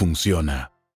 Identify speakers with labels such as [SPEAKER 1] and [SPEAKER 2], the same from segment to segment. [SPEAKER 1] funciona.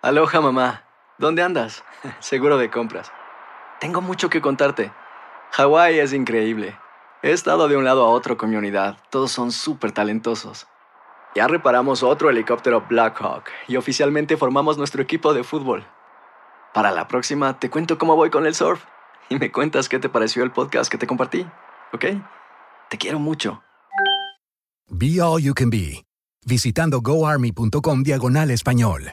[SPEAKER 2] Aloha mamá, ¿dónde andas? Seguro de compras. Tengo mucho que contarte. Hawái es increíble. He estado de un lado a otro con mi unidad. Todos son súper talentosos. Ya reparamos otro helicóptero Blackhawk y oficialmente formamos nuestro equipo de fútbol. Para la próxima te cuento cómo voy con el surf y me cuentas qué te pareció el podcast que te compartí, ¿ok? Te quiero mucho.
[SPEAKER 3] Be All You Can Be. Visitando goarmy.com diagonal español.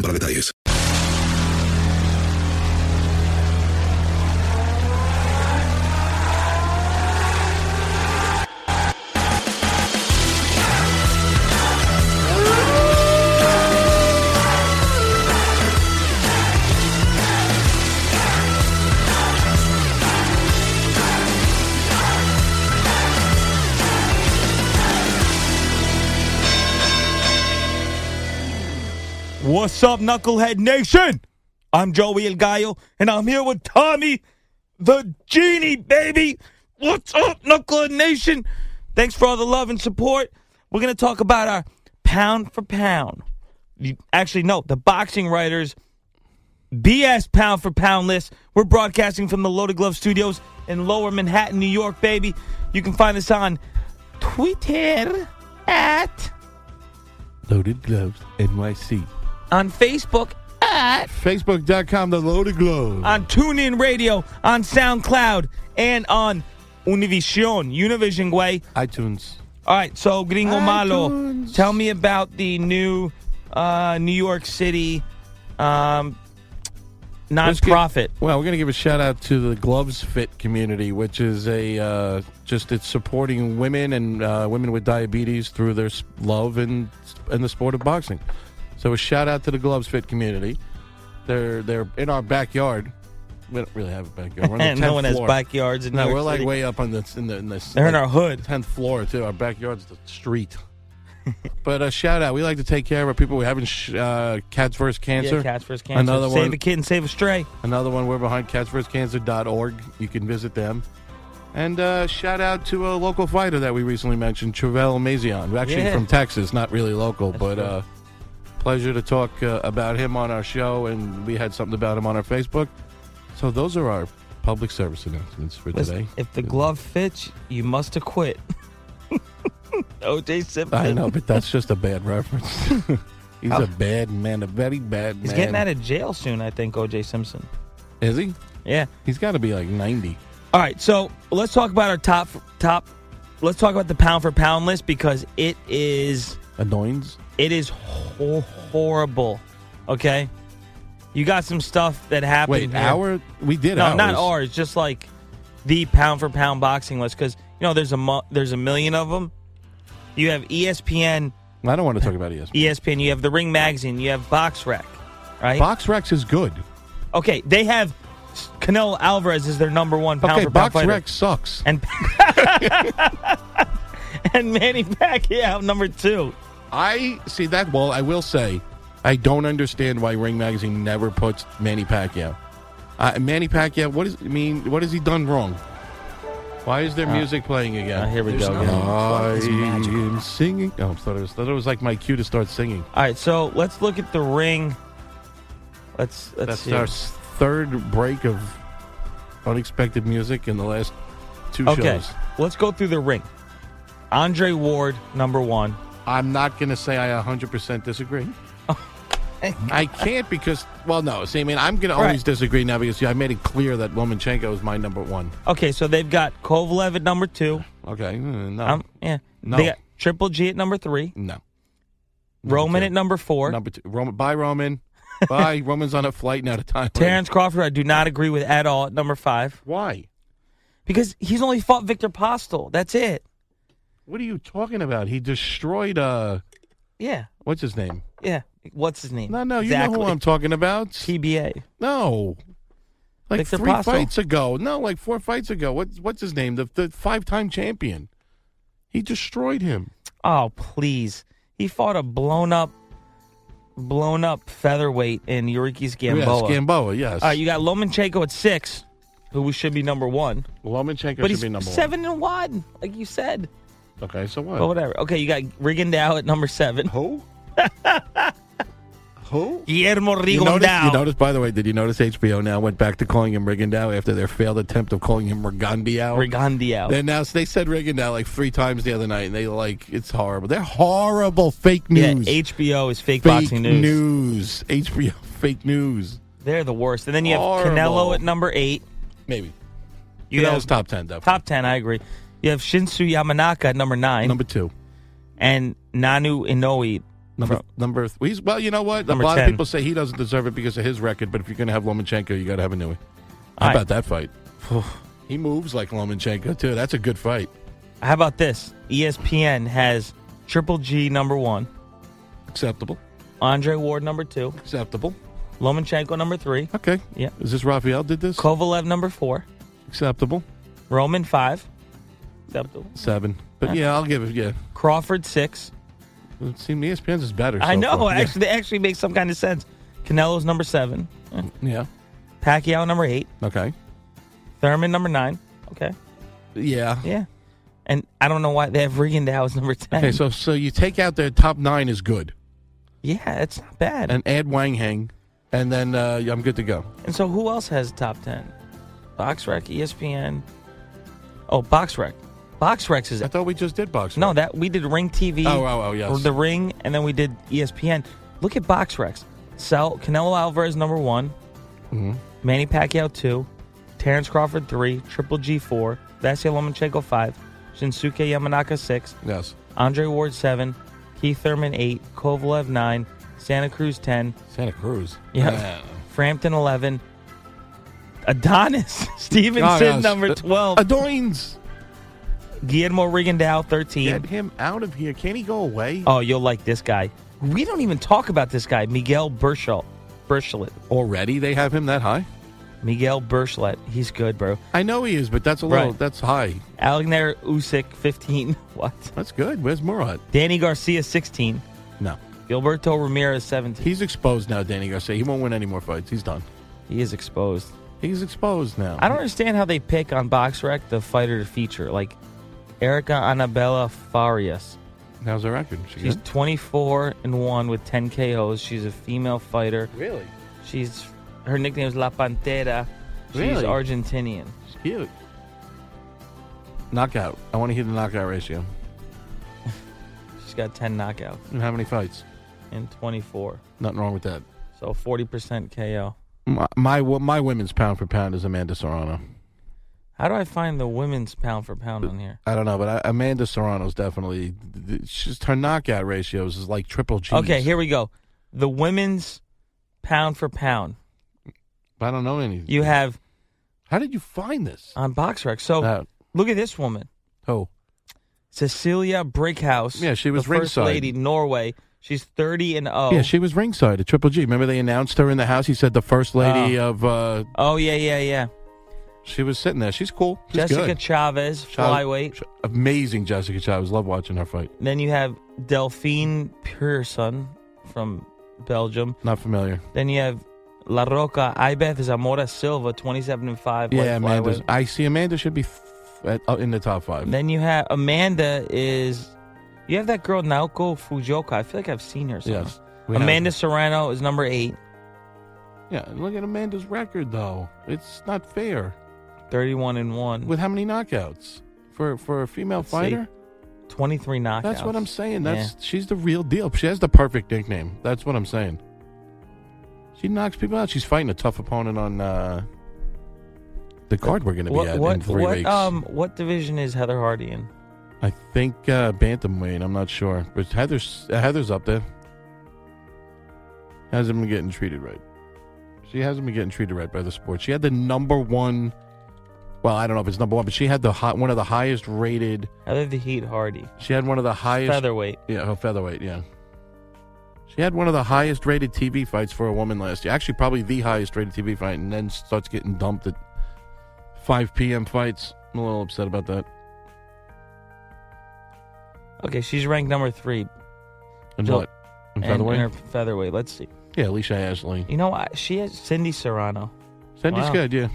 [SPEAKER 4] para detalles.
[SPEAKER 5] What's up, Knucklehead Nation? I'm Joey El Gallo, and I'm here with Tommy the Genie, baby. What's up, Knucklehead Nation? Thanks for all the love and support. We're going to talk about our pound for pound. You- Actually, no, the boxing writers' BS pound for pound list. We're broadcasting from the Loaded Glove Studios in Lower Manhattan, New York, baby. You can find us on Twitter at,
[SPEAKER 6] Loaded Gloves NYC.
[SPEAKER 5] on Facebook at,
[SPEAKER 6] Facebook.com, the Loaded Gloves.
[SPEAKER 5] on TuneIn Radio, on SoundCloud, and on Univision, Univision Way.
[SPEAKER 6] iTunes.
[SPEAKER 5] All right, so Gringo Malo,
[SPEAKER 6] iTunes.
[SPEAKER 5] tell me about the new uh, New York City um,
[SPEAKER 6] Let's get-
[SPEAKER 5] nonprofit.
[SPEAKER 6] Well, we're going to give a shout out to the Gloves Fit community, which is a uh, just it's supporting women and uh, women with diabetes through their s- love and and the sport of boxing. So a shout out to the Gloves Fit community. They're they're in our backyard. We don't really have a backyard. We're on the
[SPEAKER 5] And no
[SPEAKER 6] 10th
[SPEAKER 5] one has
[SPEAKER 6] floor.
[SPEAKER 5] backyards in
[SPEAKER 6] No,
[SPEAKER 5] New York
[SPEAKER 6] we're like
[SPEAKER 5] City.
[SPEAKER 6] way up on this in the in this.
[SPEAKER 5] They're in
[SPEAKER 6] like,
[SPEAKER 5] our hood.
[SPEAKER 6] tenth floor too. Our backyard's the street. but a shout out. We like to take care of our people. We're having sh- uh, Cats vs. Cancer.
[SPEAKER 5] Yeah, Cats vs. Cancer.
[SPEAKER 6] Another
[SPEAKER 5] save
[SPEAKER 6] one.
[SPEAKER 5] a kid and save a stray.
[SPEAKER 6] Another one. We're behind catsvscancer.org. You can visit them. And uh, shout out to a local fighter that we recently mentioned, Travell Mazion. Actually
[SPEAKER 5] Yeah.
[SPEAKER 6] from Texas, not really local, but
[SPEAKER 5] right.
[SPEAKER 6] uh, pleasure to talk uh, about him on our show. And we had something about him on our Facebook. So those are our public service announcements for
[SPEAKER 5] Listen,
[SPEAKER 6] today.
[SPEAKER 5] if the glove fits, you must acquit. OJ Simpson.
[SPEAKER 6] I know, but that's just a bad reference. He's a bad man, a very bad man.
[SPEAKER 5] He's getting out of jail soon, I think, OJ Simpson.
[SPEAKER 6] Is he?
[SPEAKER 5] Yeah.
[SPEAKER 6] He's got to be like 90.
[SPEAKER 5] All right, so let's talk about our top top. Let's talk about the pound for pound list because it is
[SPEAKER 6] Annoyance?
[SPEAKER 5] it is ho- horrible. Okay, you got some stuff that happened.
[SPEAKER 6] Wait,
[SPEAKER 5] here.
[SPEAKER 6] our? We did
[SPEAKER 5] No,
[SPEAKER 6] ours.
[SPEAKER 5] not ours. Just like the pound for pound boxing list because you know there's a mu- there's a million of them. You have E ESPN,
[SPEAKER 6] I don't want to talk about E ESPN.
[SPEAKER 5] ESPN. You have the Ring Magazine. You have Box Rec, right?
[SPEAKER 6] Box Rex is good.
[SPEAKER 5] okay, they have Canelo Alvarez is their number one pound
[SPEAKER 6] Okay,
[SPEAKER 5] for pound
[SPEAKER 6] Box
[SPEAKER 5] fighter.
[SPEAKER 6] Rex sucks.
[SPEAKER 5] and and Manny Pacquiao number two.
[SPEAKER 6] I see that. Well, I will say, I don't understand why Ring Magazine never puts Manny Pacquiao. Uh, Manny Pacquiao, what is I mean? What has he done wrong? Why is there music playing again?
[SPEAKER 5] Uh, here we go. again.
[SPEAKER 6] I am singing. Oh, I thought it was, thought it was like my cue to start singing.
[SPEAKER 5] All right, so let's look at the ring. Let's let's
[SPEAKER 6] That's
[SPEAKER 5] see.
[SPEAKER 6] our s- third break of unexpected music in the last two
[SPEAKER 5] Okay,
[SPEAKER 6] shows.
[SPEAKER 5] let's go through the ring. Andre Ward, number one.
[SPEAKER 6] I'm not going to say I 100% disagree. Oh. I can't because, well, no. See, I mean, I'm going to always
[SPEAKER 5] Right.
[SPEAKER 6] disagree now because I made it clear that Lomachenko is my number one.
[SPEAKER 5] Okay, so they've got Kovalev at number two.
[SPEAKER 6] Okay, mm, no,
[SPEAKER 5] Um, yeah,
[SPEAKER 6] No.
[SPEAKER 5] they got Triple G at number three.
[SPEAKER 6] no.
[SPEAKER 5] Roman
[SPEAKER 6] two.
[SPEAKER 5] at number four.
[SPEAKER 6] Number two, Roman. Bye, Roman. Bye, Roman's on a flight now to Thailand.
[SPEAKER 5] Terrence Crawford, I do not agree with at all at number five
[SPEAKER 6] why?
[SPEAKER 5] because he's only fought Victor Postel. That's it.
[SPEAKER 6] What are you talking about? He destroyed. uh
[SPEAKER 5] Yeah,
[SPEAKER 6] What's his name?
[SPEAKER 5] yeah. What's his name?
[SPEAKER 6] No, no, you
[SPEAKER 5] exactly.
[SPEAKER 6] know who I'm talking about.
[SPEAKER 5] TBA.
[SPEAKER 6] no, like
[SPEAKER 5] Victor
[SPEAKER 6] three
[SPEAKER 5] Postel.
[SPEAKER 6] fights ago. No, like four fights ago. What's what's his name? The, the five-time champion. He destroyed him.
[SPEAKER 5] Oh, please. He fought a blown up, blown up featherweight in Eureka's Gamboa.
[SPEAKER 6] Yes, Oh, Gamboa. Yes.
[SPEAKER 5] All right, you got Lomachenko at six, who should be number one,
[SPEAKER 6] Lomachenko
[SPEAKER 5] but
[SPEAKER 6] should
[SPEAKER 5] he's
[SPEAKER 6] be number
[SPEAKER 5] seven and one, like you said.
[SPEAKER 6] one. Okay, so what?
[SPEAKER 5] But whatever. Okay, you got Rigondeaux at number seven.
[SPEAKER 6] Who? Who?
[SPEAKER 5] Guillermo
[SPEAKER 6] You noticed, you
[SPEAKER 5] Rigondeaux.
[SPEAKER 6] noticed, by the way, did you notice HBO now went back to calling him Rigondeaux after their failed attempt of calling him Rigondeaux?
[SPEAKER 5] Rigondeaux.
[SPEAKER 6] They announced they said Rigondeaux like three times the other night, and they like it's horrible. They're horrible fake
[SPEAKER 5] Yeah,
[SPEAKER 6] news.
[SPEAKER 5] HBO is fake,
[SPEAKER 6] fake
[SPEAKER 5] boxing news.
[SPEAKER 6] news. HBO fake news.
[SPEAKER 5] They're the worst. And then you have
[SPEAKER 6] Horrible.
[SPEAKER 5] Canelo at number eight.
[SPEAKER 6] Maybe.
[SPEAKER 5] You
[SPEAKER 6] Canelo's
[SPEAKER 5] have
[SPEAKER 6] top ten though.
[SPEAKER 5] top ten. I agree. You have Shinsu Yamanaka at number nine,
[SPEAKER 6] number two.
[SPEAKER 5] and Nanu Inoue.
[SPEAKER 6] Number number. Th- he's, well, you know what?
[SPEAKER 5] Number
[SPEAKER 6] a lot
[SPEAKER 5] 10.
[SPEAKER 6] of people say he doesn't deserve it because of his record. But if you're going to have Lomachenko, you got to have a new one. How
[SPEAKER 5] All right.
[SPEAKER 6] about that fight? he moves like Lomachenko too. That's a good fight.
[SPEAKER 5] How about this? E ESPN has Triple G number one,
[SPEAKER 6] Acceptable.
[SPEAKER 5] Andre Ward number two,
[SPEAKER 6] Acceptable.
[SPEAKER 5] Lomachenko number three,
[SPEAKER 6] Okay.
[SPEAKER 5] Yeah.
[SPEAKER 6] Is this Raphael did this?
[SPEAKER 5] Kovalev number four,
[SPEAKER 6] Acceptable.
[SPEAKER 5] Roman five, acceptable,
[SPEAKER 6] Seven. But yeah, I'll give it. Yeah.
[SPEAKER 5] Crawford six.
[SPEAKER 6] It E seemed ESPN's is better.
[SPEAKER 5] I
[SPEAKER 6] so
[SPEAKER 5] know.
[SPEAKER 6] far. Yeah.
[SPEAKER 5] Actually, they actually makes some kind of sense. Canelo's number seven, Eh.
[SPEAKER 6] Yeah.
[SPEAKER 5] Pacquiao number eight,
[SPEAKER 6] Okay.
[SPEAKER 5] Thurman number nine. Okay,
[SPEAKER 6] Yeah.
[SPEAKER 5] yeah. And I don't know why they have Rigondeaux as number ten.
[SPEAKER 6] Okay, so so you take out their top nine is good,
[SPEAKER 5] yeah, it's not bad.
[SPEAKER 6] and add Wang Hang, and then uh, I'm good to go.
[SPEAKER 5] And so, who else has top ten? BoxRec, E ESPN. Oh, BoxRec. BoxRec is
[SPEAKER 6] I
[SPEAKER 5] it?
[SPEAKER 6] thought we just did box.
[SPEAKER 5] No, that we did Ring TV.
[SPEAKER 6] Oh, oh, oh, yes.
[SPEAKER 5] or The Ring, and then we did E ESPN. Look at BoxRec. Sal Canelo Alvarez number one,
[SPEAKER 6] Mm-hmm.
[SPEAKER 5] Manny Pacquiao two, Terrence Crawford three, Triple G four, Vasily Lomachenko five, Shinsuke Yamanaka six,
[SPEAKER 6] yes.
[SPEAKER 5] Andre Ward seven, Keith Thurman eight, Kovalev nine, Santa Cruz ten,
[SPEAKER 6] Santa Cruz.
[SPEAKER 5] Yeah.
[SPEAKER 6] Uh,
[SPEAKER 5] Frampton 11. Adonis Stevenson
[SPEAKER 6] oh, yes.
[SPEAKER 5] number
[SPEAKER 6] Uh,
[SPEAKER 5] 12.
[SPEAKER 6] Adoins.
[SPEAKER 5] Guillermo Rigondeaux 13.
[SPEAKER 6] Get him out of here. Can he go away?
[SPEAKER 5] Oh, you'll like this guy. We don't even talk about this guy, Miguel Burchell. Burchlet.
[SPEAKER 6] Already they have him that high.
[SPEAKER 5] Miguel Burchlet. He's good, bro.
[SPEAKER 6] I know he is, but that's a little.
[SPEAKER 5] Right.
[SPEAKER 6] That's high.
[SPEAKER 5] Alexander Usyk 15. What?
[SPEAKER 6] That's good. Where's Murat?
[SPEAKER 5] Danny Garcia 16.
[SPEAKER 6] No,
[SPEAKER 5] Gilberto Ramirez 17.
[SPEAKER 6] he's exposed now. Danny Garcia. He won't win any more fights. He's done.
[SPEAKER 5] He is exposed.
[SPEAKER 6] He's exposed now.
[SPEAKER 5] I don't understand how they pick on BoxRec the fighter to feature. Like Erica Anabella Farias.
[SPEAKER 6] How's her record? She
[SPEAKER 5] She's
[SPEAKER 6] good?
[SPEAKER 5] 24 and 1 with 10 KOs. She's a female fighter.
[SPEAKER 6] really
[SPEAKER 5] She's her nickname is La Pantera. She's
[SPEAKER 6] Really?
[SPEAKER 5] Argentinian.
[SPEAKER 6] She's cute. Knockout. I want to hear the knockout ratio.
[SPEAKER 5] She's got 10 knockouts
[SPEAKER 6] And how many fights?
[SPEAKER 5] in 24.
[SPEAKER 6] Nothing wrong with that.
[SPEAKER 5] So 40% KO.
[SPEAKER 6] My my, wo- my women's pound for pound is Amanda Serrano.
[SPEAKER 5] How do I find the women's pound for pound on here?
[SPEAKER 6] I don't know, but I, Amanda Serrano's definitely just her knockout ratios is like triple G.
[SPEAKER 5] Okay, here we go. The women's pound for pound.
[SPEAKER 6] I don't know any.
[SPEAKER 5] You have Oh.
[SPEAKER 6] How did you find this?
[SPEAKER 5] on BoxRec. So
[SPEAKER 6] Uh,
[SPEAKER 5] look at this woman.
[SPEAKER 6] oh,
[SPEAKER 5] Cecilia Brickhouse.
[SPEAKER 6] Yeah, she was
[SPEAKER 5] the first
[SPEAKER 6] ringside.
[SPEAKER 5] lady, Norway. She's 30 and oh. 0.
[SPEAKER 6] yeah, she was ringside at Triple G. Remember they announced her in the house. He said the first lady of uh,
[SPEAKER 5] Oh yeah, yeah, yeah.
[SPEAKER 6] She was sitting there. She's cool. She's
[SPEAKER 5] Jessica
[SPEAKER 6] good.
[SPEAKER 5] Chavez,
[SPEAKER 6] Chav-
[SPEAKER 5] flyweight.
[SPEAKER 6] Ch- amazing Jessica Chavez. Love watching her fight.
[SPEAKER 5] Then you have Delphine Pearson from Belgium.
[SPEAKER 6] Not familiar.
[SPEAKER 5] Then you have La Roca Ibeth Zamora Silva, 27 and 5. light
[SPEAKER 6] yeah, Amanda.
[SPEAKER 5] flyweight.
[SPEAKER 6] I see Amanda should be f- at, uh, in the top five.
[SPEAKER 5] Then you have Amanda is. You have that girl Naoko Fujoka. I feel like I've seen her. Somewhere.
[SPEAKER 6] Yes. we have-
[SPEAKER 5] Amanda Serrano is number eight,
[SPEAKER 6] Yeah, and look at Amanda's record though. It's not fair.
[SPEAKER 5] 31 and 1.
[SPEAKER 6] With how many knockouts for for a female
[SPEAKER 5] Let's see.
[SPEAKER 6] fighter?
[SPEAKER 5] 23 knockouts.
[SPEAKER 6] That's what I'm saying. That's she's the real deal. She has the perfect nickname. That's what I'm saying. She knocks people out. She's fighting a tough opponent on uh, the card we're going to be
[SPEAKER 5] what,
[SPEAKER 6] at
[SPEAKER 5] what,
[SPEAKER 6] in three
[SPEAKER 5] what,
[SPEAKER 6] weeks.
[SPEAKER 5] Um, what division is Heather Hardy in?
[SPEAKER 6] I think uh, bantamweight. I'm not sure, but Heather's uh, Heather's up there. Hasn't been getting treated right. She hasn't been getting treated right by the sport. She had the number one. Well, I don't know if it's number one, but she had the hot, one of the highest rated.
[SPEAKER 5] Heather the Heat Hardy.
[SPEAKER 6] She had one of the highest
[SPEAKER 5] Featherweight.
[SPEAKER 6] yeah, her featherweight, yeah. She had one of the highest rated TV fights for a woman last year. Actually, probably the highest rated TV fight, and then starts getting dumped at 5 p.m. fights. I'm a little upset about that.
[SPEAKER 5] Okay, she's ranked number three.
[SPEAKER 6] And
[SPEAKER 5] Jill-
[SPEAKER 6] what? And
[SPEAKER 5] and-
[SPEAKER 6] featherweight?
[SPEAKER 5] and her featherweight. Let's see.
[SPEAKER 6] yeah, Alicia Ashley.
[SPEAKER 5] You know what? She has Cindy Serrano.
[SPEAKER 6] Cindy's
[SPEAKER 5] Wow.
[SPEAKER 6] good, yeah.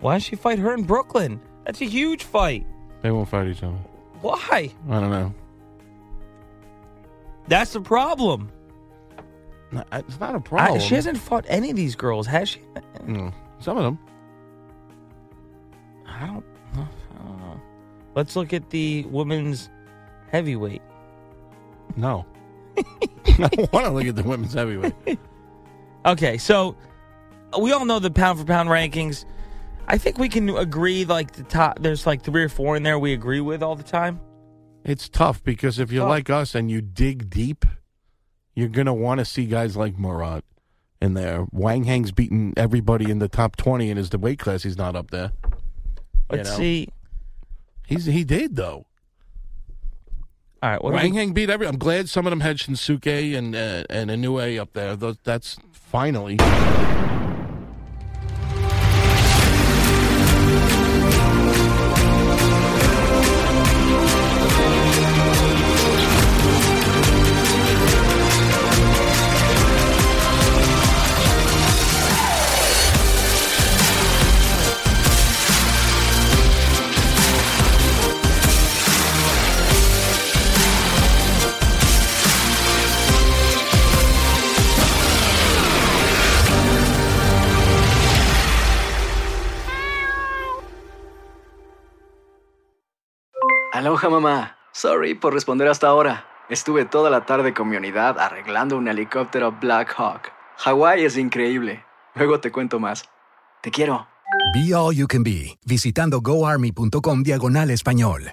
[SPEAKER 5] Why doesn't she fight her in Brooklyn? That's a huge fight.
[SPEAKER 6] They won't fight each other.
[SPEAKER 5] Why?
[SPEAKER 6] I don't know.
[SPEAKER 5] That's the problem.
[SPEAKER 6] No, I- It's not a
[SPEAKER 5] I-
[SPEAKER 6] problem.
[SPEAKER 5] she hasn't fought any of these girls, has she?
[SPEAKER 6] No. Some of them.
[SPEAKER 5] I don't, know. I don't know. Let's look at the women's heavyweight.
[SPEAKER 6] No. I want to look at the women's heavyweight.
[SPEAKER 5] Okay, so we all know the pound for pound rankings. I think we can agree like the top. There's like three or four in there we agree with all the time.
[SPEAKER 6] It's tough because if you're
[SPEAKER 5] Tough.
[SPEAKER 6] like us and you dig deep, you're going to want to see guys like Murat in there. Wang Hang's beaten everybody in the top 20 and is the weight class he's not up there. You
[SPEAKER 5] Let's
[SPEAKER 6] know?
[SPEAKER 5] see.
[SPEAKER 6] He's he did though.
[SPEAKER 5] All right, what do
[SPEAKER 6] Wang
[SPEAKER 5] we,
[SPEAKER 6] Hang beat every I'm glad some of them had Shinsuke and uh, and Inoue up there. Tho- That's finally
[SPEAKER 2] Aloha mamá. Sorry por responder hasta ahora. Estuve toda la tarde con mi unidad arreglando un helicóptero Black Hawk. Hawái es increíble. Luego te cuento más. Te quiero.
[SPEAKER 3] Be All You Can Be, visitando goarmy.com diagonal español.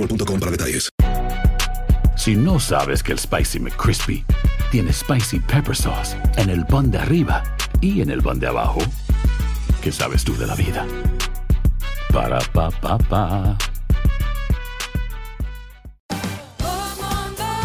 [SPEAKER 4] para detalles.
[SPEAKER 7] Si no sabes que el Spicy McCrispy tiene spicy pepper sauce en el pan de arriba y en el pan de abajo, ¿qué sabes tú de la vida? Para pa pa pa.